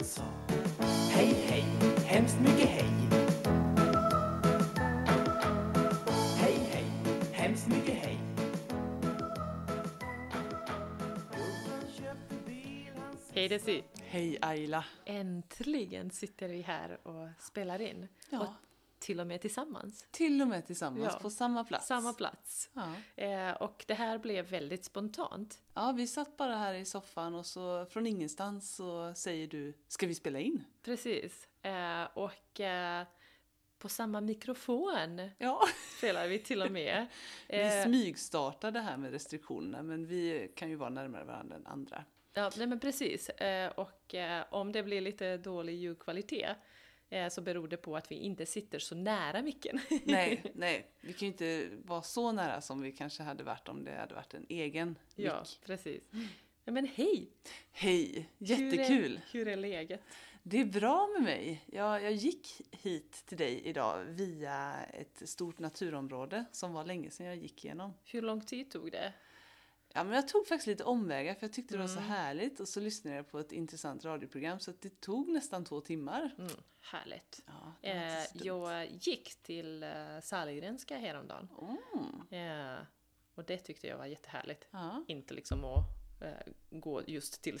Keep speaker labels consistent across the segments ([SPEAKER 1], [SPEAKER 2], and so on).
[SPEAKER 1] sa Hej, hej, hemskt mycket hej. Hej, hej, hemskt mycket hej.
[SPEAKER 2] Hej Desi!
[SPEAKER 1] Hej Ayla.
[SPEAKER 2] Äntligen sitter vi här och spelar in.
[SPEAKER 1] Ja.
[SPEAKER 2] Och till och med tillsammans.
[SPEAKER 1] Till och med tillsammans
[SPEAKER 2] Ja.
[SPEAKER 1] på samma plats.
[SPEAKER 2] Samma plats.
[SPEAKER 1] Ja.
[SPEAKER 2] Eh, och det här blev väldigt spontant.
[SPEAKER 1] ja, vi satt bara här i soffan och så från ingenstans så säger du, ska vi spela in?
[SPEAKER 2] Precis. Eh, och eh, på samma mikrofon
[SPEAKER 1] Ja.
[SPEAKER 2] spelar vi till och med.
[SPEAKER 1] Vi
[SPEAKER 2] Eh,
[SPEAKER 1] smygstartade här med restriktionerna men vi kan ju vara närmare varandra än andra.
[SPEAKER 2] ja, nej men precis. Eh, och eh, om det blir lite dålig ljudkvalitet eh, så beror det på att vi inte sitter så nära micken.
[SPEAKER 1] Nej, nej, vi kan ju inte vara så nära som vi kanske hade varit om det hade varit en egen
[SPEAKER 2] ja,
[SPEAKER 1] mick.
[SPEAKER 2] precis. Nej, Men hej!
[SPEAKER 1] Hej,
[SPEAKER 2] Hur
[SPEAKER 1] jättekul!
[SPEAKER 2] är, hur är läget?
[SPEAKER 1] Det är bra med mig. Jag, jag gick hit till dig idag via ett stort naturområde som var länge sedan jag gick igenom.
[SPEAKER 2] Hur lång tid tog det?
[SPEAKER 1] Ja, men jag tog faktiskt lite omvägar för jag tyckte det var så
[SPEAKER 2] Mm.
[SPEAKER 1] härligt och så lyssnade jag på ett intressant radioprogram så att det tog nästan två timmar.
[SPEAKER 2] Mm, härligt.
[SPEAKER 1] Ja, det var
[SPEAKER 2] Eh,
[SPEAKER 1] inte så dumt.
[SPEAKER 2] jag gick till eh, Sahlgrenska häromdagen.
[SPEAKER 1] Mm.
[SPEAKER 2] Eh, och det tyckte jag var jättehärligt.
[SPEAKER 1] Ja.
[SPEAKER 2] Inte liksom att eh, gå just till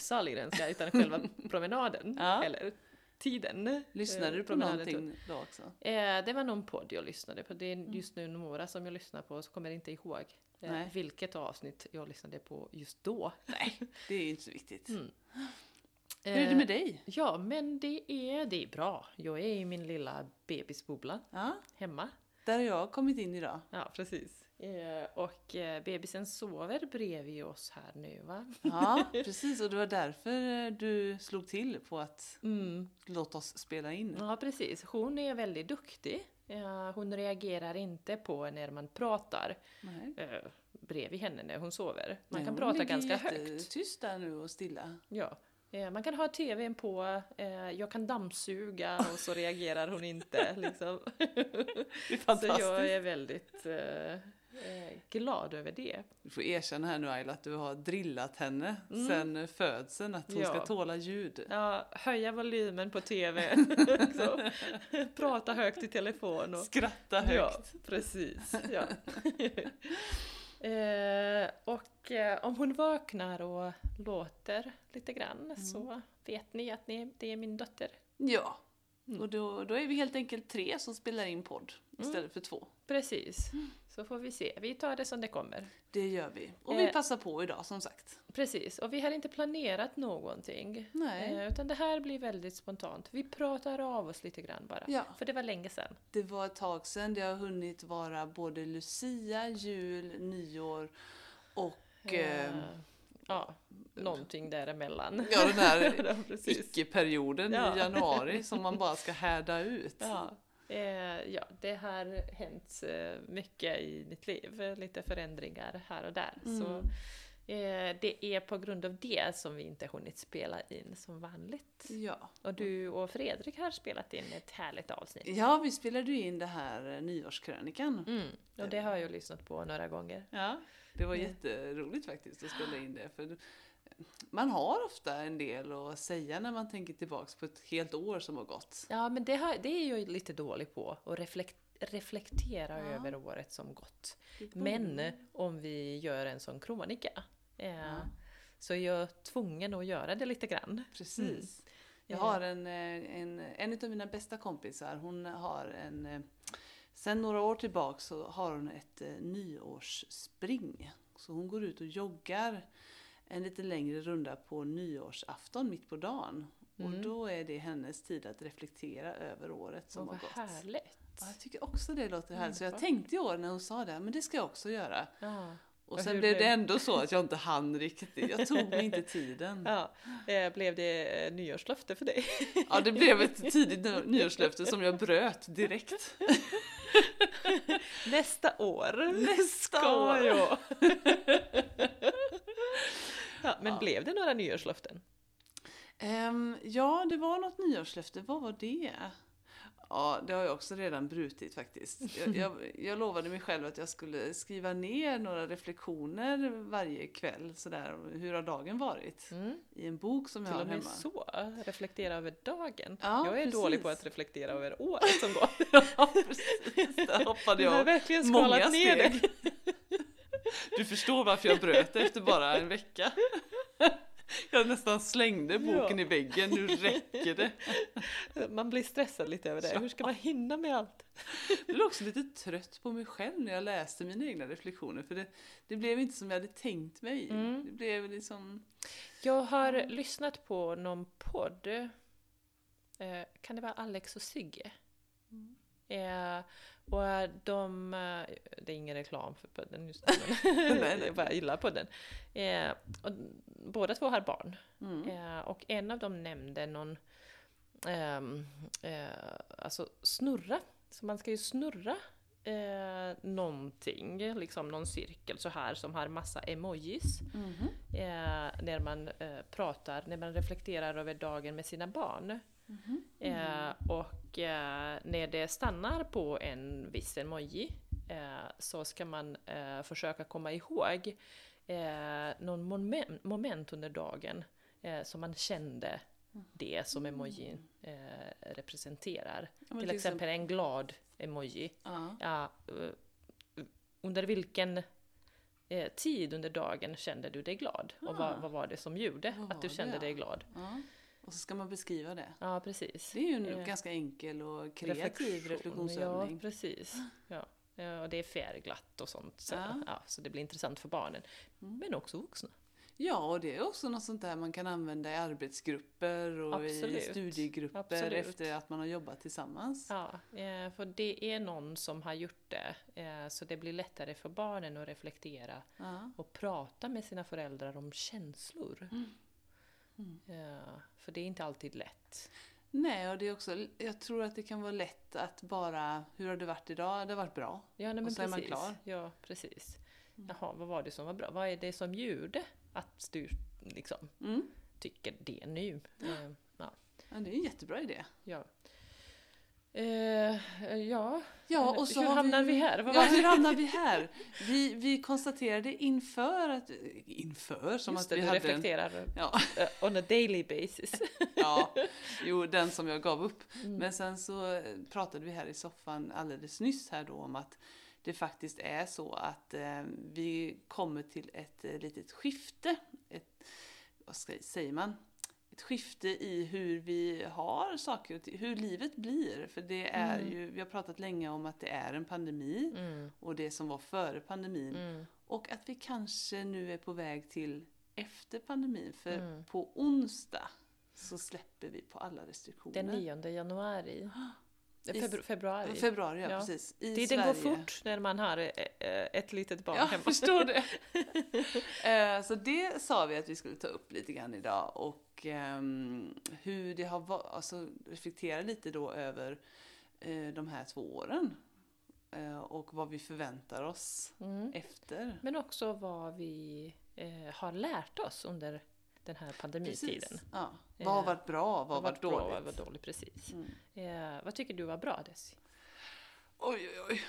[SPEAKER 2] Sahlgrenska utan själva promenaden.
[SPEAKER 1] Ja.
[SPEAKER 2] Eller tiden.
[SPEAKER 1] Lyssnade
[SPEAKER 2] eh,
[SPEAKER 1] du på
[SPEAKER 2] promenaden tog.
[SPEAKER 1] någonting då också?
[SPEAKER 2] Eh, det var någon podd jag lyssnade på. Det är just nu några som jag lyssnar på så kommer jag inte ihåg
[SPEAKER 1] Nej.
[SPEAKER 2] eh, vilket avsnitt jag lyssnade på just då. Nej.
[SPEAKER 1] Det är ju inte så viktigt.
[SPEAKER 2] Mm. Eh,
[SPEAKER 1] Hur är det med dig?
[SPEAKER 2] Ja, men det är, det är bra. Jag är i min lilla bebisbubbla
[SPEAKER 1] Ja,
[SPEAKER 2] hemma.
[SPEAKER 1] där har jag kommit in idag.
[SPEAKER 2] Ja, precis. Eh, och eh, bebisen sover bredvid oss här nu, va?
[SPEAKER 1] Ja, precis. Och det var därför eh, du slog till på att låta oss spela in.
[SPEAKER 2] Mm. Ja, precis. Hon är väldigt duktig. Eh, hon reagerar inte på när man pratar
[SPEAKER 1] Nej.
[SPEAKER 2] eh, bredvid henne när hon sover. Man
[SPEAKER 1] Nej,
[SPEAKER 2] kan
[SPEAKER 1] hon
[SPEAKER 2] prata
[SPEAKER 1] ligger
[SPEAKER 2] ganska
[SPEAKER 1] jätte-
[SPEAKER 2] högt.
[SPEAKER 1] tyst där nu och stilla.
[SPEAKER 2] Ja. Eh, Man kan ha tvn på, eh, jag kan dammsuga och så reagerar hon inte. Liksom.
[SPEAKER 1] Det är
[SPEAKER 2] Så
[SPEAKER 1] fantastiskt.
[SPEAKER 2] jag är väldigt eh, eh, glad över det.
[SPEAKER 1] Du får erkänna här nu Ayla att du har drillat henne sen födseln att hon
[SPEAKER 2] Ja.
[SPEAKER 1] ska tåla ljud.
[SPEAKER 2] Ja, höja volymen på TV, så. prata högt i telefon. Och,
[SPEAKER 1] Skratta
[SPEAKER 2] Ja,
[SPEAKER 1] högt.
[SPEAKER 2] precis. Ja. eh, och eh, om hon vaknar och låter lite grann
[SPEAKER 1] Mm.
[SPEAKER 2] så vet ni att ni, det är min dotter.
[SPEAKER 1] Ja. Och då, då är vi helt enkelt tre som spelar in podd istället för två.
[SPEAKER 2] Precis, så får vi se. Vi tar det som det kommer.
[SPEAKER 1] Det gör vi. Och vi
[SPEAKER 2] Eh.
[SPEAKER 1] passar på idag som sagt.
[SPEAKER 2] Precis, och vi har inte planerat någonting.
[SPEAKER 1] Nej.
[SPEAKER 2] Eh, Utan det här blir väldigt spontant. Vi pratar av oss lite grann bara.
[SPEAKER 1] Ja.
[SPEAKER 2] För det var länge sedan.
[SPEAKER 1] Det var ett tag sedan. Det har hunnit vara både Lucia, jul, nyår och eh,
[SPEAKER 2] Eh, ja, någonting däremellan.
[SPEAKER 1] ja, den här
[SPEAKER 2] Typ. Ja, precis.
[SPEAKER 1] icke-perioden
[SPEAKER 2] Ja.
[SPEAKER 1] i januari som man bara ska härda ut.
[SPEAKER 2] Ja. Eh, ja, det har hänt eh, mycket i mitt liv. eh, Lite förändringar här och där.
[SPEAKER 1] Mm.
[SPEAKER 2] Så, eh, det är på grund av det som vi inte hunnit spela in som vanligt.
[SPEAKER 1] Ja.
[SPEAKER 2] Och du och Fredrik har spelat in ett härligt avsnitt.
[SPEAKER 1] ja, vi spelade ju in det här eh, nyårskrönikan.
[SPEAKER 2] Mm. Och det har jag lyssnat på några gånger.
[SPEAKER 1] Ja, det var jätteroligt faktiskt att spela in det. För man har ofta en del att säga när man tänker tillbaks på ett helt år som har gått.
[SPEAKER 2] Ja, men det, har, det är jag lite dålig på, att reflek- reflektera över året som gått.
[SPEAKER 1] Mm.
[SPEAKER 2] Men om vi gör en sån kronika, eh, så är jag tvungen att göra det lite grann.
[SPEAKER 1] Precis. Jag har en, eh, en, en av mina bästa kompisar, hon har en, eh, sen några år tillbaks så har hon ett eh, nyårsspring. Så hon går ut och joggar en lite längre runda på nyårsafton mitt på dagen.
[SPEAKER 2] Mm.
[SPEAKER 1] Och då är det hennes tid att reflektera över året som
[SPEAKER 2] Åh,
[SPEAKER 1] har
[SPEAKER 2] vad
[SPEAKER 1] gått.
[SPEAKER 2] härligt! Mm,
[SPEAKER 1] Ja, jag tycker också det låter härligt. Så jag tänkte i år när hon sa det, men det ska jag också göra.
[SPEAKER 2] Ja.
[SPEAKER 1] Och
[SPEAKER 2] Och
[SPEAKER 1] sen
[SPEAKER 2] hur
[SPEAKER 1] blev det
[SPEAKER 2] blev-
[SPEAKER 1] ändå så att jag inte hann riktigt. Jag tog mig inte tiden.
[SPEAKER 2] Ja, eh, blev det eh, nyårslöfte för dig?
[SPEAKER 1] Ja, det blev ett tidigt ny- nyårslöfte som jag bröt direkt.
[SPEAKER 2] Nästa år! Nästa
[SPEAKER 1] år.
[SPEAKER 2] Jag. ja, men blev det några nyårslöften?
[SPEAKER 1] Ehm, ja, det var något nyårslöfte. Vad var det? Ja, det har jag också redan brutit faktiskt. Jag, jag, jag lovade mig själv att jag skulle skriva ner några reflektioner varje kväll, sådär, hur har dagen varit?
[SPEAKER 2] Mm.
[SPEAKER 1] I en bok som jag
[SPEAKER 2] Till
[SPEAKER 1] har
[SPEAKER 2] och med
[SPEAKER 1] hemma.
[SPEAKER 2] så, reflektera över dagen.
[SPEAKER 1] Ja,
[SPEAKER 2] jag är
[SPEAKER 1] precis.
[SPEAKER 2] dålig på att reflektera över året som går.
[SPEAKER 1] Ja, precis. Där hoppade
[SPEAKER 2] Du har
[SPEAKER 1] jag
[SPEAKER 2] verkligen
[SPEAKER 1] många
[SPEAKER 2] skalat ner
[SPEAKER 1] steg.
[SPEAKER 2] det.
[SPEAKER 1] Du förstår varför jag bröt efter bara en vecka. Jag nästan slängde boken i väggen, nu räcker det.
[SPEAKER 2] Man blir stressad lite över det.
[SPEAKER 1] Ja.
[SPEAKER 2] Hur ska man hinna med allt?
[SPEAKER 1] Jag blev också lite trött på mig själv när jag läste mina egna reflektioner för det, det blev inte som jag hade tänkt mig.
[SPEAKER 2] Mm.
[SPEAKER 1] Det blev liksom...
[SPEAKER 2] Jag har lyssnat på någon podd. Eh, Kan det vara Alex och Sigge?
[SPEAKER 1] Mm.
[SPEAKER 2] Eh, och eh, de, eh, det är ingen reklam för podden just nu, men
[SPEAKER 1] Nej, nej.
[SPEAKER 2] jag bara gillar podden. Eh, och båda två har barn.
[SPEAKER 1] Mm.
[SPEAKER 2] Eh, och en av dem nämnde någon, ehm, eh, alltså snurra. Så man ska ju snurra eh, någonting, liksom någon cirkel så här som har massa emojis.
[SPEAKER 1] Mhm.
[SPEAKER 2] Eh, när man eh, pratar, när man reflekterar över dagen med sina barn.
[SPEAKER 1] Mhm.
[SPEAKER 2] Eh, och eh, när det stannar på en viss emoji eh, så ska man eh, försöka komma ihåg eh, någon moment, moment under dagen eh, som man kände det som emojin eh, representerar.
[SPEAKER 1] Ja, men
[SPEAKER 2] Till exempel en glad emoji.
[SPEAKER 1] Ja.
[SPEAKER 2] Ja, eh, under vilken eh, tid under dagen kände du dig glad? Och
[SPEAKER 1] Ah.
[SPEAKER 2] vad, vad var det som gjorde
[SPEAKER 1] Vad
[SPEAKER 2] att du
[SPEAKER 1] var
[SPEAKER 2] kände
[SPEAKER 1] det?
[SPEAKER 2] dig glad?
[SPEAKER 1] ja. Och så ska man beskriva det.
[SPEAKER 2] Ja, precis.
[SPEAKER 1] Det är ju en
[SPEAKER 2] Eh,
[SPEAKER 1] ganska enkel och kreativ
[SPEAKER 2] Reflektion. Ja,
[SPEAKER 1] reflektionsövning.
[SPEAKER 2] precis. Ja. Eh, Och det är färgglatt och sånt. Så,
[SPEAKER 1] Ja.
[SPEAKER 2] ja. så det blir intressant för barnen.
[SPEAKER 1] Mm.
[SPEAKER 2] Men också vuxna.
[SPEAKER 1] Ja, och det är också något sånt där man kan använda i arbetsgrupper och i
[SPEAKER 2] Absolut.
[SPEAKER 1] studiegrupper
[SPEAKER 2] Absolut.
[SPEAKER 1] efter att man har jobbat tillsammans.
[SPEAKER 2] Ja, eh, för det är någon som har gjort det. eh, Så det blir lättare för barnen att reflektera
[SPEAKER 1] Ja.
[SPEAKER 2] och prata med sina föräldrar om känslor.
[SPEAKER 1] Mm.
[SPEAKER 2] Eh, För det är inte alltid lätt.
[SPEAKER 1] Nej, och det är också, jag tror att det kan vara lätt att bara, hur har det varit idag? Det har varit bra.
[SPEAKER 2] Ja, nej, men
[SPEAKER 1] Och så är man
[SPEAKER 2] precis.
[SPEAKER 1] klar. Mm.
[SPEAKER 2] Ja, precis. Jaha, vad var det som var bra? Vad är det som gjorde att du liksom
[SPEAKER 1] Mm.
[SPEAKER 2] tycker det nu? Eh, ja.
[SPEAKER 1] Ja, det är en jättebra idé.
[SPEAKER 2] ja. Eh, ja.
[SPEAKER 1] Ja, och så
[SPEAKER 2] hur
[SPEAKER 1] har
[SPEAKER 2] hamnar vi, här? Vad
[SPEAKER 1] Ja,
[SPEAKER 2] var det?
[SPEAKER 1] hur hamnar vi här? Vi, vi konstaterade inför att... Inför? Som
[SPEAKER 2] Just
[SPEAKER 1] att
[SPEAKER 2] det,
[SPEAKER 1] vi
[SPEAKER 2] du
[SPEAKER 1] hade en...
[SPEAKER 2] reflekterar
[SPEAKER 1] Ja,
[SPEAKER 2] eh, on a daily basis.
[SPEAKER 1] ja, jo, den som jag gav upp.
[SPEAKER 2] Mm.
[SPEAKER 1] Men sen så eh, pratade vi här i soffan alldeles nyss här då om att det faktiskt är så att eh, vi kommer till ett eh, litet skifte. Ett, vad ska, säger man? Ett skifte i hur vi har saker och ting, hur livet blir. För det är
[SPEAKER 2] Mm.
[SPEAKER 1] ju, vi har pratat länge om att det är en pandemi
[SPEAKER 2] Mm,
[SPEAKER 1] och det som var före pandemin.
[SPEAKER 2] mm,
[SPEAKER 1] Och att vi kanske nu är på väg till efter pandemin. För
[SPEAKER 2] Mm.
[SPEAKER 1] på onsdag så släpper vi på alla restriktioner.
[SPEAKER 2] Den 9 januari. Eh,
[SPEAKER 1] I-
[SPEAKER 2] Febru- februari.
[SPEAKER 1] Februari, ja,
[SPEAKER 2] Ja.
[SPEAKER 1] precis. I
[SPEAKER 2] Tiden
[SPEAKER 1] Sverige.
[SPEAKER 2] går fort när man har eh, eh, ett litet barn
[SPEAKER 1] Ja, jag
[SPEAKER 2] hemma.
[SPEAKER 1] förstår det. Eh, så det sa vi att vi skulle ta upp lite grann idag och ehm, hur det har varit, alltså reflektera lite då över eh, de här två åren. Eh, Och vad vi förväntar oss
[SPEAKER 2] Mm.
[SPEAKER 1] efter.
[SPEAKER 2] Men också vad vi eh, har lärt oss under den här pandemitiden.
[SPEAKER 1] Ja. Vad har
[SPEAKER 2] Eh,
[SPEAKER 1] varit bra? Vad har varit
[SPEAKER 2] bra,
[SPEAKER 1] dåligt?
[SPEAKER 2] Vad var dåligt, precis.
[SPEAKER 1] Mm.
[SPEAKER 2] Eh, vad tycker du var bra Desi?
[SPEAKER 1] Oj, oj, oj.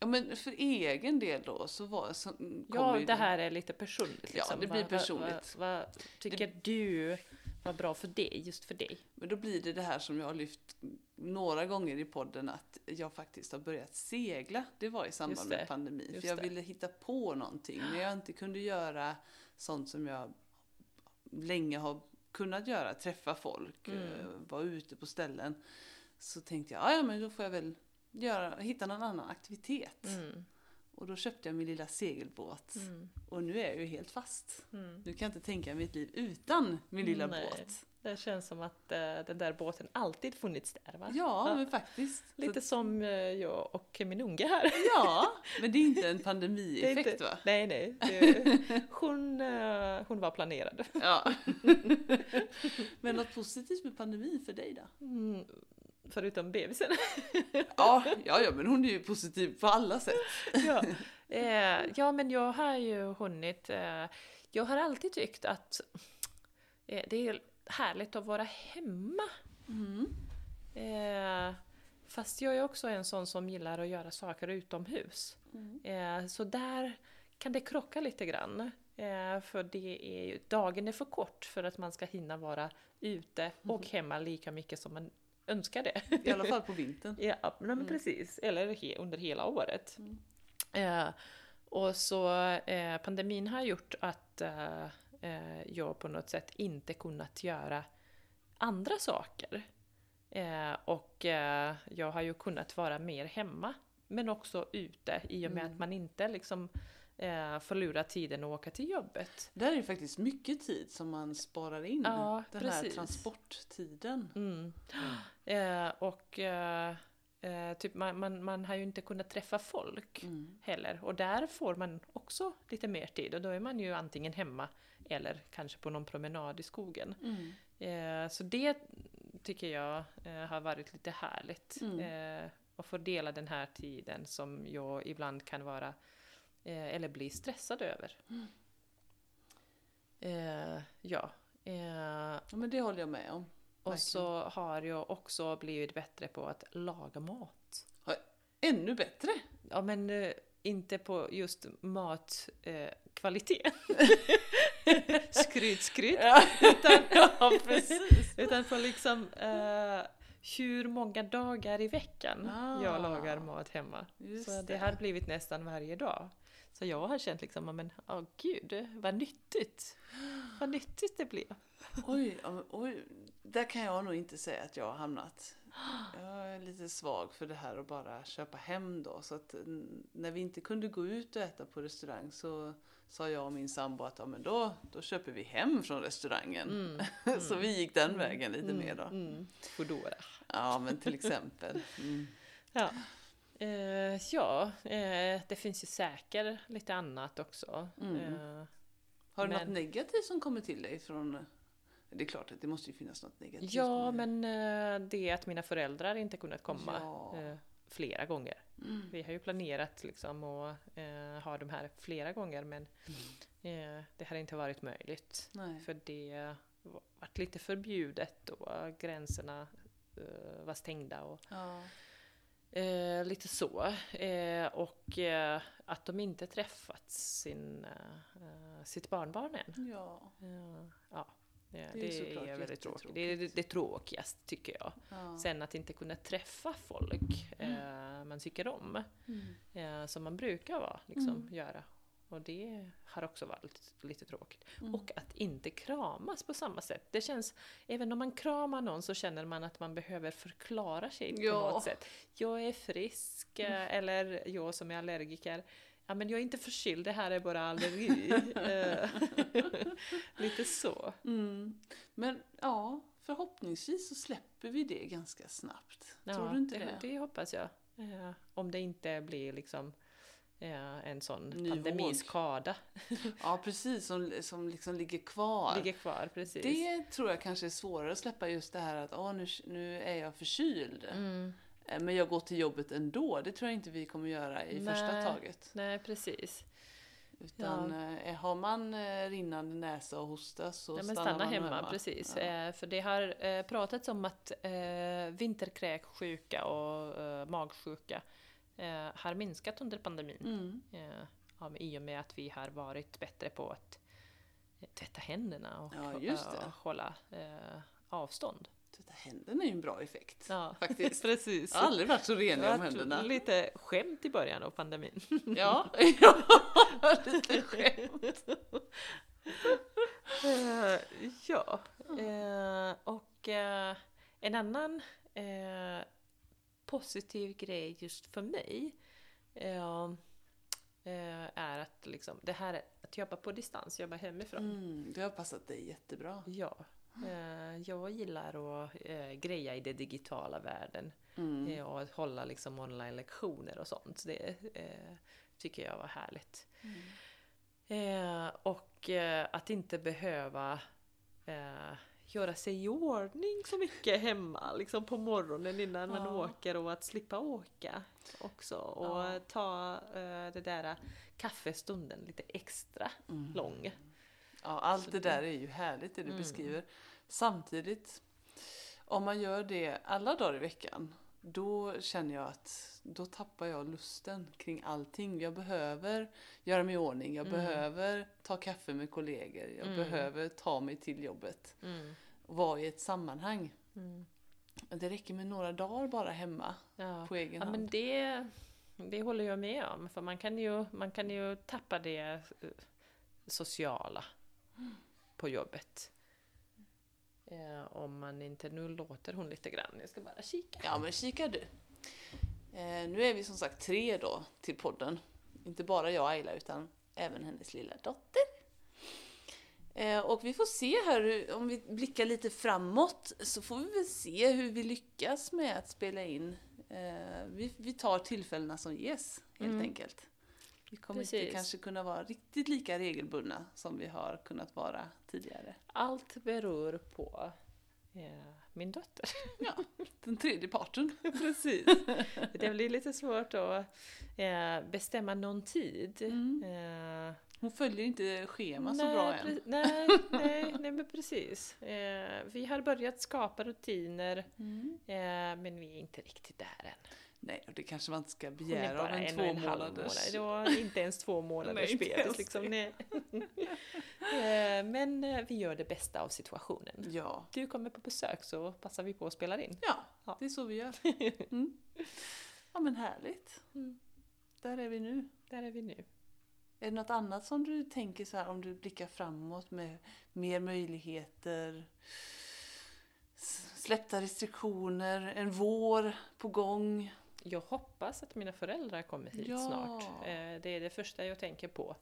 [SPEAKER 1] Ja, men för egen del då så var så, kom
[SPEAKER 2] Ja,
[SPEAKER 1] ju-
[SPEAKER 2] det här är lite personligt. liksom.
[SPEAKER 1] Ja, det blir
[SPEAKER 2] Vad- vad-
[SPEAKER 1] personligt.
[SPEAKER 2] Vad, vad, tycker du var bra för dig, just för dig?
[SPEAKER 1] Men då blir det det här som jag har lyft några gånger i podden att jag faktiskt har börjat segla. Det var i samband
[SPEAKER 2] Just det,
[SPEAKER 1] med pandemin.
[SPEAKER 2] just
[SPEAKER 1] För jag
[SPEAKER 2] det.
[SPEAKER 1] ville hitta på någonting. När jag inte kunde göra sånt som jag länge har kunnat göra, träffa folk,
[SPEAKER 2] Mm.
[SPEAKER 1] eh, vara ute på ställen. Så tänkte jag, "Ah, ja men då får jag väl göra, hitta någon annan aktivitet.
[SPEAKER 2] Mm,
[SPEAKER 1] Och då köpte jag min lilla segelbåt.
[SPEAKER 2] mm,
[SPEAKER 1] Och nu är jag ju helt fast.
[SPEAKER 2] mm.
[SPEAKER 1] Nu kan jag inte tänka mitt liv utan min lilla
[SPEAKER 2] Nej.
[SPEAKER 1] båt.
[SPEAKER 2] Det känns som att eh, den där båten alltid funnits där va?
[SPEAKER 1] Ja, men faktiskt. Så-
[SPEAKER 2] Lite som eh, jag och min unge här.
[SPEAKER 1] Ja, men det är inte en
[SPEAKER 2] Det är
[SPEAKER 1] pandemieffekt
[SPEAKER 2] inte-
[SPEAKER 1] va?
[SPEAKER 2] Nej, nej. Det, hon, eh, hon var planerad.
[SPEAKER 1] Ja. men något positivt med pandemin för dig då?
[SPEAKER 2] Mm, förutom bebisen.
[SPEAKER 1] Ja, ja, ja men hon är ju positiv på alla sätt.
[SPEAKER 2] ja. Eh, ja, men jag har ju hunnit... Eh, jag har alltid tyckt att
[SPEAKER 1] Mm.
[SPEAKER 2] eh, det är härligt att vara hemma. Eh, Fast jag är också en sån som gillar att göra saker utomhus.
[SPEAKER 1] Mm.
[SPEAKER 2] Eh, så där kan det krocka lite grann. Eh, för det är, ju- dagen är för kort för att man ska hinna vara ute och hemma lika mycket som man önskar det.
[SPEAKER 1] I alla fall på vintern.
[SPEAKER 2] Ja, Mm. nej, men precis. Eller he, under hela året.
[SPEAKER 1] Mm.
[SPEAKER 2] Eh, och så eh, pandemin har gjort att eh, eh, jag på något sätt inte kunnat göra andra saker. Eh, och eh, jag har ju kunnat vara mer hemma men också ute i och med att man inte liksom eh, förlorar tiden och åka till jobbet.
[SPEAKER 1] Där är det faktiskt mycket tid som man sparar in.
[SPEAKER 2] Ja,
[SPEAKER 1] den här
[SPEAKER 2] precis.
[SPEAKER 1] transporttiden.
[SPEAKER 2] Mm. Eh, och eh, eh, typ man, man, man har ju inte kunnat träffa folk.
[SPEAKER 1] Mm.
[SPEAKER 2] heller. Och där får man också lite mer tid och då är man ju antingen hemma eller kanske på någon promenad i skogen.
[SPEAKER 1] Mm.
[SPEAKER 2] Eh, så det tycker jag eh, har varit lite härligt.
[SPEAKER 1] Mm.
[SPEAKER 2] Eh, att få dela den här tiden som jag ibland kan vara eh, eller bli stressad över. Eh, ja. Eh,
[SPEAKER 1] Ja, men det håller jag med om.
[SPEAKER 2] och så har jag också blivit bättre på att laga mat.
[SPEAKER 1] Ännu bättre!
[SPEAKER 2] Ja men eh, inte på just matkvalitet. Eh, kvalitet. skryt, skryt. Utan,
[SPEAKER 1] ja, precis.
[SPEAKER 2] utan på liksom eh, hur många dagar i veckan
[SPEAKER 1] Ah.
[SPEAKER 2] jag lagar mat hemma.
[SPEAKER 1] Just
[SPEAKER 2] så det,
[SPEAKER 1] det.
[SPEAKER 2] har blivit nästan varje dag. Så jag har känt liksom, ja, men åh gud, vad nyttigt. Vad nyttigt det blev.
[SPEAKER 1] Oj, ja, men oj, där kan jag nog inte säga att jag har hamnat. Jag är lite svag för det här att bara köpa hem då. Så att mm, när vi inte kunde gå ut och äta på restaurang så sa jag och min sambo att ja, men då, då köper vi hem från restaurangen. så vi gick den vägen Mm, lite mer då.
[SPEAKER 2] Mm. Foodora.
[SPEAKER 1] Ja, men till exempel. Mm.
[SPEAKER 2] Ja, eh, ja eh, det finns ju säkert lite annat också.
[SPEAKER 1] Mm.
[SPEAKER 2] Eh,
[SPEAKER 1] Har du
[SPEAKER 2] Men-
[SPEAKER 1] något negativt som kommer till dig från... Det är klart att det måste ju finnas något negativt.
[SPEAKER 2] Ja,
[SPEAKER 1] med-
[SPEAKER 2] men eh, det är att mina föräldrar inte kunnat komma
[SPEAKER 1] Ja. Mm.
[SPEAKER 2] eh, flera gånger. Vi har ju planerat liksom att eh, ha de här flera gånger men eh, det har inte varit möjligt.
[SPEAKER 1] Mm. Nej.
[SPEAKER 2] För det var- vart lite förbjudet och gränserna eh, var stängda och
[SPEAKER 1] Ja.
[SPEAKER 2] eh, lite så. Eh, och eh, att de inte träffat sin, eh, sitt barnbarn än.
[SPEAKER 1] Ja.
[SPEAKER 2] Ja, ja. Det,
[SPEAKER 1] ju
[SPEAKER 2] det
[SPEAKER 1] såklart
[SPEAKER 2] är väldigt tråkigt. Det är
[SPEAKER 1] jättetråkigt.
[SPEAKER 2] det, det tråkigaste tycker jag.
[SPEAKER 1] ja.
[SPEAKER 2] Sen att inte kunna träffa folk eh, man tycker om,
[SPEAKER 1] Mm.
[SPEAKER 2] eh, som man brukar vara, liksom,
[SPEAKER 1] Mm.
[SPEAKER 2] göra. Och det har också varit lite tråkigt.
[SPEAKER 1] Mm.
[SPEAKER 2] Och att inte kramas på samma sätt. Det känns, även om man kramar någon så känner man att man behöver förklara sig
[SPEAKER 1] Ja. Mm.
[SPEAKER 2] på något sätt. Jag är frisk, eh, eller jag som är allergiker, ja men jag är inte förkyld, det här är bara allergi. Eh, Lite så.
[SPEAKER 1] Mm. Men ja, förhoppningsvis så släpper vi det ganska snabbt.
[SPEAKER 2] Ja,
[SPEAKER 1] Tror du inte det?
[SPEAKER 2] det? hoppas jag. Eh, om det inte blir liksom eh, en sån
[SPEAKER 1] Ny
[SPEAKER 2] pandemiskada.
[SPEAKER 1] Ja, precis. Som, som liksom ligger kvar.
[SPEAKER 2] Ligger kvar, precis.
[SPEAKER 1] Det tror jag kanske är svårare att släppa just det här att ah, nu, nu är jag förkyld.
[SPEAKER 2] Mm.
[SPEAKER 1] Eh, Men jag går till jobbet ändå. Det tror jag inte vi kommer göra i första
[SPEAKER 2] Nej.
[SPEAKER 1] taget.
[SPEAKER 2] Nej, precis.
[SPEAKER 1] Utan eh, har man eh, rinnande näsa och hosta så
[SPEAKER 2] Ja, men
[SPEAKER 1] stannar
[SPEAKER 2] stanna
[SPEAKER 1] man
[SPEAKER 2] hemma, precis.
[SPEAKER 1] Ja.
[SPEAKER 2] Eh, för det har eh, pratats om att eh, vinterkräksjuka och eh, magsjuka eh, har minskat under pandemin.
[SPEAKER 1] Mm.
[SPEAKER 2] Eh, ja, men I och med att vi har varit bättre på att eh, tvätta händerna och
[SPEAKER 1] Ja, just det.
[SPEAKER 2] eh, hålla eh, avstånd.
[SPEAKER 1] Tvätta händerna är ju en bra effekt.
[SPEAKER 2] Ja,
[SPEAKER 1] Faktiskt.
[SPEAKER 2] precis.
[SPEAKER 1] Jag har aldrig varit så
[SPEAKER 2] Det
[SPEAKER 1] renlig om
[SPEAKER 2] var
[SPEAKER 1] händerna.
[SPEAKER 2] lite skämt i början av pandemin.
[SPEAKER 1] Ja, ja lite skämt.
[SPEAKER 2] Eh, ja,
[SPEAKER 1] Mm.
[SPEAKER 2] Eh, och eh, en annan eh, positiv grej just för mig eh, eh, är att liksom, det här att jobba på distans, jobba hemifrån.
[SPEAKER 1] Mm, det har passat dig jättebra.
[SPEAKER 2] Ja, eh, jag gillar att eh, greja i den digitala världen
[SPEAKER 1] Mm.
[SPEAKER 2] eh, och att hålla liksom online-lektioner och sånt. Det eh, tycker jag var härligt. Eh, och eh, att inte behöva eh, göra sig i ordning så mycket hemma liksom på morgonen innan man
[SPEAKER 1] Ja.
[SPEAKER 2] åker och att slippa åka också och
[SPEAKER 1] Ja.
[SPEAKER 2] ta eh, det där kaffestunden lite extra
[SPEAKER 1] Mm.
[SPEAKER 2] lång.
[SPEAKER 1] Ja, allt det där är ju härligt det du
[SPEAKER 2] Mm.
[SPEAKER 1] beskriver. Samtidigt, om man gör det alla dagar i veckan, då känner jag att då tappar jag lusten kring allting. Jag behöver göra mig i ordning, jag
[SPEAKER 2] Mm.
[SPEAKER 1] behöver ta kaffe med kollegor, jag
[SPEAKER 2] Mm.
[SPEAKER 1] behöver ta mig till jobbet
[SPEAKER 2] Mm.
[SPEAKER 1] och vara i ett sammanhang.
[SPEAKER 2] Mm.
[SPEAKER 1] Det räcker med några dagar bara hemma
[SPEAKER 2] Ja.
[SPEAKER 1] på egen
[SPEAKER 2] ja, men
[SPEAKER 1] hand.
[SPEAKER 2] det, det håller jag med om. För man kan ju, man kan ju tappa det eh, sociala på jobbet. Eh, om man inte... Nu låter hon lite grann. Jag ska bara kika.
[SPEAKER 1] Ja men kika du. Eh, nu är vi som sagt tre då till podden. Inte bara jag Ayla utan även hennes lilla dotter. Eh, och vi får se här, hur- om vi blickar lite framåt så får vi väl se hur vi lyckas med att spela in. Eh, vi, vi tar tillfällena som ges helt
[SPEAKER 2] Mm.
[SPEAKER 1] enkelt. Vi kommer inte
[SPEAKER 2] Precis.
[SPEAKER 1] kanske kunna vara riktigt lika regelbundna som vi har kunnat vara tidigare.
[SPEAKER 2] Allt beror på eh, min dotter.
[SPEAKER 1] Den tredje parten.
[SPEAKER 2] Precis. Det blir lite svårt att eh, bestämma någon tid.
[SPEAKER 1] Mm.
[SPEAKER 2] Eh,
[SPEAKER 1] Hon följer inte schema så
[SPEAKER 2] nej,
[SPEAKER 1] bra än.
[SPEAKER 2] pre- Nej, nej, nej men precis. Eh, vi har börjat skapa rutiner
[SPEAKER 1] Mm.
[SPEAKER 2] eh, men vi är inte riktigt där än.
[SPEAKER 1] Nej, och det kanske man inte ska
[SPEAKER 2] Hon är
[SPEAKER 1] begära av
[SPEAKER 2] bara
[SPEAKER 1] en,
[SPEAKER 2] en, och
[SPEAKER 1] två
[SPEAKER 2] en halv månad.
[SPEAKER 1] månaders...
[SPEAKER 2] Det var inte ens två månaders
[SPEAKER 1] Nej, inte
[SPEAKER 2] bebis.
[SPEAKER 1] ens
[SPEAKER 2] Liksom. nej. eh, men eh, vi gör det bästa av situationen.
[SPEAKER 1] Ja.
[SPEAKER 2] Du kommer på besök så passar vi på att spela in.
[SPEAKER 1] ja,
[SPEAKER 2] Ja.
[SPEAKER 1] det är så vi gör. Mm. Ja men härligt.
[SPEAKER 2] Mm.
[SPEAKER 1] Där är vi nu.
[SPEAKER 2] Där är vi nu.
[SPEAKER 1] Är det något annat som du tänker så här om du blickar framåt med mer möjligheter? s- Släppta restriktioner, en vår på gång.
[SPEAKER 2] Jag hoppas att mina föräldrar kommer hit
[SPEAKER 1] Ja.
[SPEAKER 2] snart. Eh, det är det första jag tänker på.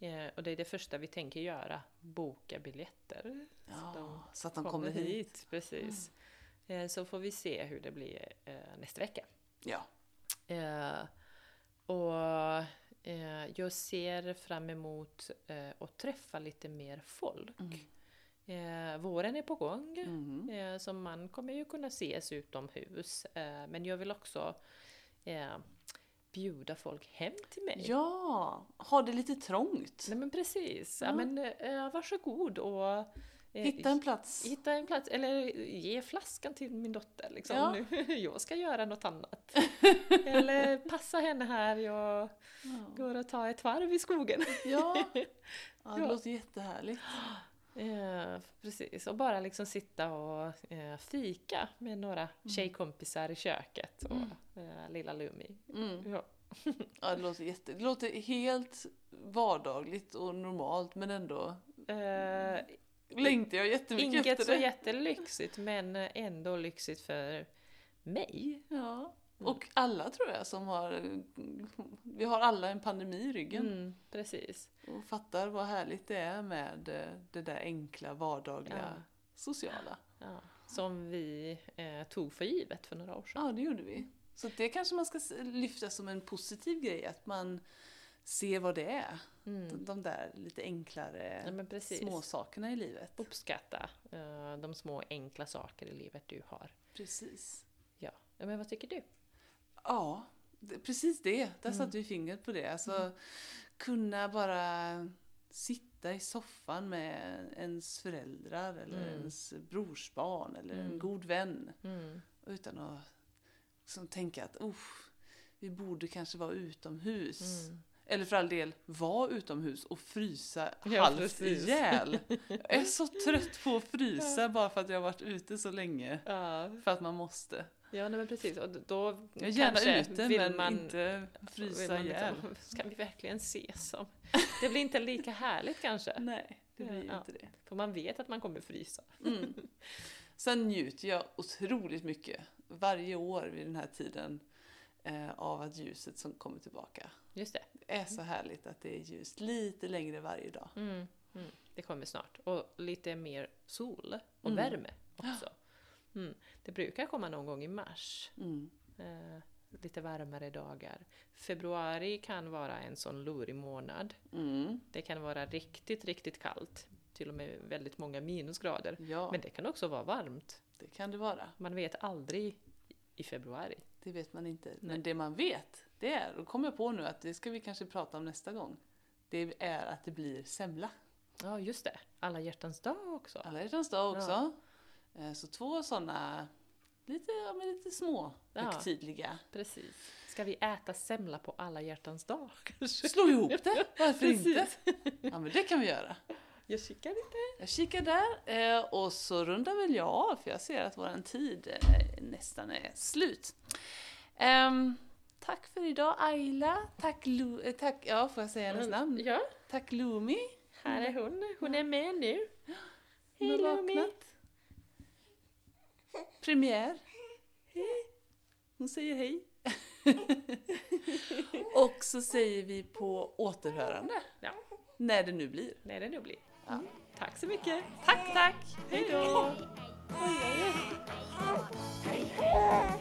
[SPEAKER 2] Eh, och det är det första vi tänker göra. Boka biljetter. Så de
[SPEAKER 1] Ja, så att de kommer hit. Mm.
[SPEAKER 2] Precis. Eh, så får vi se hur det blir eh, nästa vecka.
[SPEAKER 1] Ja.
[SPEAKER 2] Eh, och eh, jag ser fram emot eh, att träffa lite mer folk.
[SPEAKER 1] Mm.
[SPEAKER 2] Eh, våren är på gång.
[SPEAKER 1] Mhm.
[SPEAKER 2] Eh, Så man kommer ju kunna ses utomhus. Eh, Men jag vill också eh, bjuda folk hem till mig.
[SPEAKER 1] Ja, ha det lite trångt.
[SPEAKER 2] Nej men precis.
[SPEAKER 1] Ja.
[SPEAKER 2] Ja, men, eh, varsågod och eh,
[SPEAKER 1] Hitta en plats.
[SPEAKER 2] hitta en plats. Eller ge flaskan till min dotter. Liksom.
[SPEAKER 1] Ja.
[SPEAKER 2] Nu, jag ska göra något annat. eller passa henne här. Jag
[SPEAKER 1] Ja,
[SPEAKER 2] går och tar ett varv i skogen.
[SPEAKER 1] ja. ja det
[SPEAKER 2] Ja.
[SPEAKER 1] låter jättehärligt.
[SPEAKER 2] Eh, precis, och bara liksom sitta och eh, fika med några tjejkompisar i köket och eh, lilla Lumi.
[SPEAKER 1] Mm.
[SPEAKER 2] Ja.
[SPEAKER 1] Ja, det låter, jätte, det låter helt vardagligt och normalt men ändå
[SPEAKER 2] Eh,
[SPEAKER 1] längtar jag jättemycket
[SPEAKER 2] inget
[SPEAKER 1] efter
[SPEAKER 2] så
[SPEAKER 1] det.
[SPEAKER 2] jättelyxigt men ändå lyxigt för mig.
[SPEAKER 1] ja.
[SPEAKER 2] Mm.
[SPEAKER 1] Och alla tror jag som har, vi har alla en pandemi i ryggen
[SPEAKER 2] Mm, precis.
[SPEAKER 1] och fattar vad härligt det är med eh, det där enkla vardagliga
[SPEAKER 2] Ja.
[SPEAKER 1] sociala.
[SPEAKER 2] Ja. Som vi eh, tog för givet för några år sedan.
[SPEAKER 1] Ja, det gjorde vi. Så det kanske man ska s- lyfta som en positiv grej, att man ser vad det är.
[SPEAKER 2] Mm.
[SPEAKER 1] De där lite
[SPEAKER 2] Ja,
[SPEAKER 1] enklare
[SPEAKER 2] men precis.
[SPEAKER 1] småsakerna i livet.
[SPEAKER 2] Uppskatta eh, de små enkla saker i livet du har.
[SPEAKER 1] Precis.
[SPEAKER 2] Ja. Ja, Men vad tycker du?
[SPEAKER 1] Ja, det, precis det. Där
[SPEAKER 2] Mm.
[SPEAKER 1] satte vi fingret på det. Alltså, Kunna bara sitta i soffan med ens föräldrar eller
[SPEAKER 2] Mm.
[SPEAKER 1] ens brorsbarn eller en
[SPEAKER 2] Mm.
[SPEAKER 1] god vän
[SPEAKER 2] Mm.
[SPEAKER 1] utan att liksom, tänka att oh, vi borde kanske vara utomhus.
[SPEAKER 2] Mm.
[SPEAKER 1] Eller för all del, vara utomhus och frysa
[SPEAKER 2] Ja,
[SPEAKER 1] halvt
[SPEAKER 2] precis.
[SPEAKER 1] ihjäl. Jag är så trött på att frysa bara för att jag har varit ute så länge.
[SPEAKER 2] Ja.
[SPEAKER 1] För att man måste.
[SPEAKER 2] Ja, nej, men precis. Och då
[SPEAKER 1] Jag är gärna
[SPEAKER 2] kanske
[SPEAKER 1] ute
[SPEAKER 2] vill
[SPEAKER 1] men
[SPEAKER 2] man,
[SPEAKER 1] inte
[SPEAKER 2] vill
[SPEAKER 1] frysa
[SPEAKER 2] man
[SPEAKER 1] ihjäl.
[SPEAKER 2] liksom, Ska vi verkligen ses? Om? Det blir inte lika härligt kanske.
[SPEAKER 1] Nej, det blir ju
[SPEAKER 2] Ja.
[SPEAKER 1] inte det.
[SPEAKER 2] För man vet att man kommer frysa.
[SPEAKER 1] Mm. Sen njuter jag otroligt mycket varje år vid den här tiden eh, av att ljuset som kommer tillbaka.
[SPEAKER 2] Just det.
[SPEAKER 1] Det är så härligt att det är ljust lite längre varje dag.
[SPEAKER 2] Mm. Mm. Det kommer snart. Och lite mer sol och
[SPEAKER 1] Mm.
[SPEAKER 2] värme också. Mm. Det brukar komma någon gång i mars.
[SPEAKER 1] Mm.
[SPEAKER 2] Eh, lite varmare dagar. Februari kan vara en sån lurig månad.
[SPEAKER 1] Mm.
[SPEAKER 2] Det kan vara riktigt, riktigt kallt. Till och med väldigt många minusgrader.
[SPEAKER 1] Ja,
[SPEAKER 2] Men det kan också vara varmt.
[SPEAKER 1] det kan det vara.
[SPEAKER 2] Man vet aldrig i februari.
[SPEAKER 1] Det vet man inte. Men
[SPEAKER 2] Nej.
[SPEAKER 1] det man vet, det är, och kommer jag på nu att det ska vi kanske prata om nästa gång, det är att det blir semla.
[SPEAKER 2] Ja, just det. Alla hjärtans dag också.
[SPEAKER 1] Alla hjärtans dag också.
[SPEAKER 2] Ja.
[SPEAKER 1] Eh, Så två sådana lite, ja, men lite små
[SPEAKER 2] Ja.
[SPEAKER 1] högtidliga.
[SPEAKER 2] Precis. Ska vi äta semla på alla hjärtans dag kanske?
[SPEAKER 1] Slå ihop det, varför inte?
[SPEAKER 2] Precis.
[SPEAKER 1] Ja men det kan vi göra.
[SPEAKER 2] Jag kikar lite.
[SPEAKER 1] Jag kikar där eh, och så rundar väl jag av för jag ser att våran tid eh, nästan är slut. Ehm, tack för idag Ayla, tack, Lu- eh, tack ja får jag säga hennes namn?
[SPEAKER 2] Ja,
[SPEAKER 1] Tack Lumi.
[SPEAKER 2] här är hon. Hon är med nu.
[SPEAKER 1] Hon
[SPEAKER 2] Mm. Hej
[SPEAKER 1] har
[SPEAKER 2] Lumi!
[SPEAKER 1] vaknat. Premiär. Hon säger hej. och så säger vi på återhörande.
[SPEAKER 2] Ja.
[SPEAKER 1] När det nu blir.
[SPEAKER 2] Nej, det nu blir.
[SPEAKER 1] Ja.
[SPEAKER 2] Mm. Tack så mycket.
[SPEAKER 1] Tack, tack!
[SPEAKER 2] Hej då!
[SPEAKER 3] Hej, hej!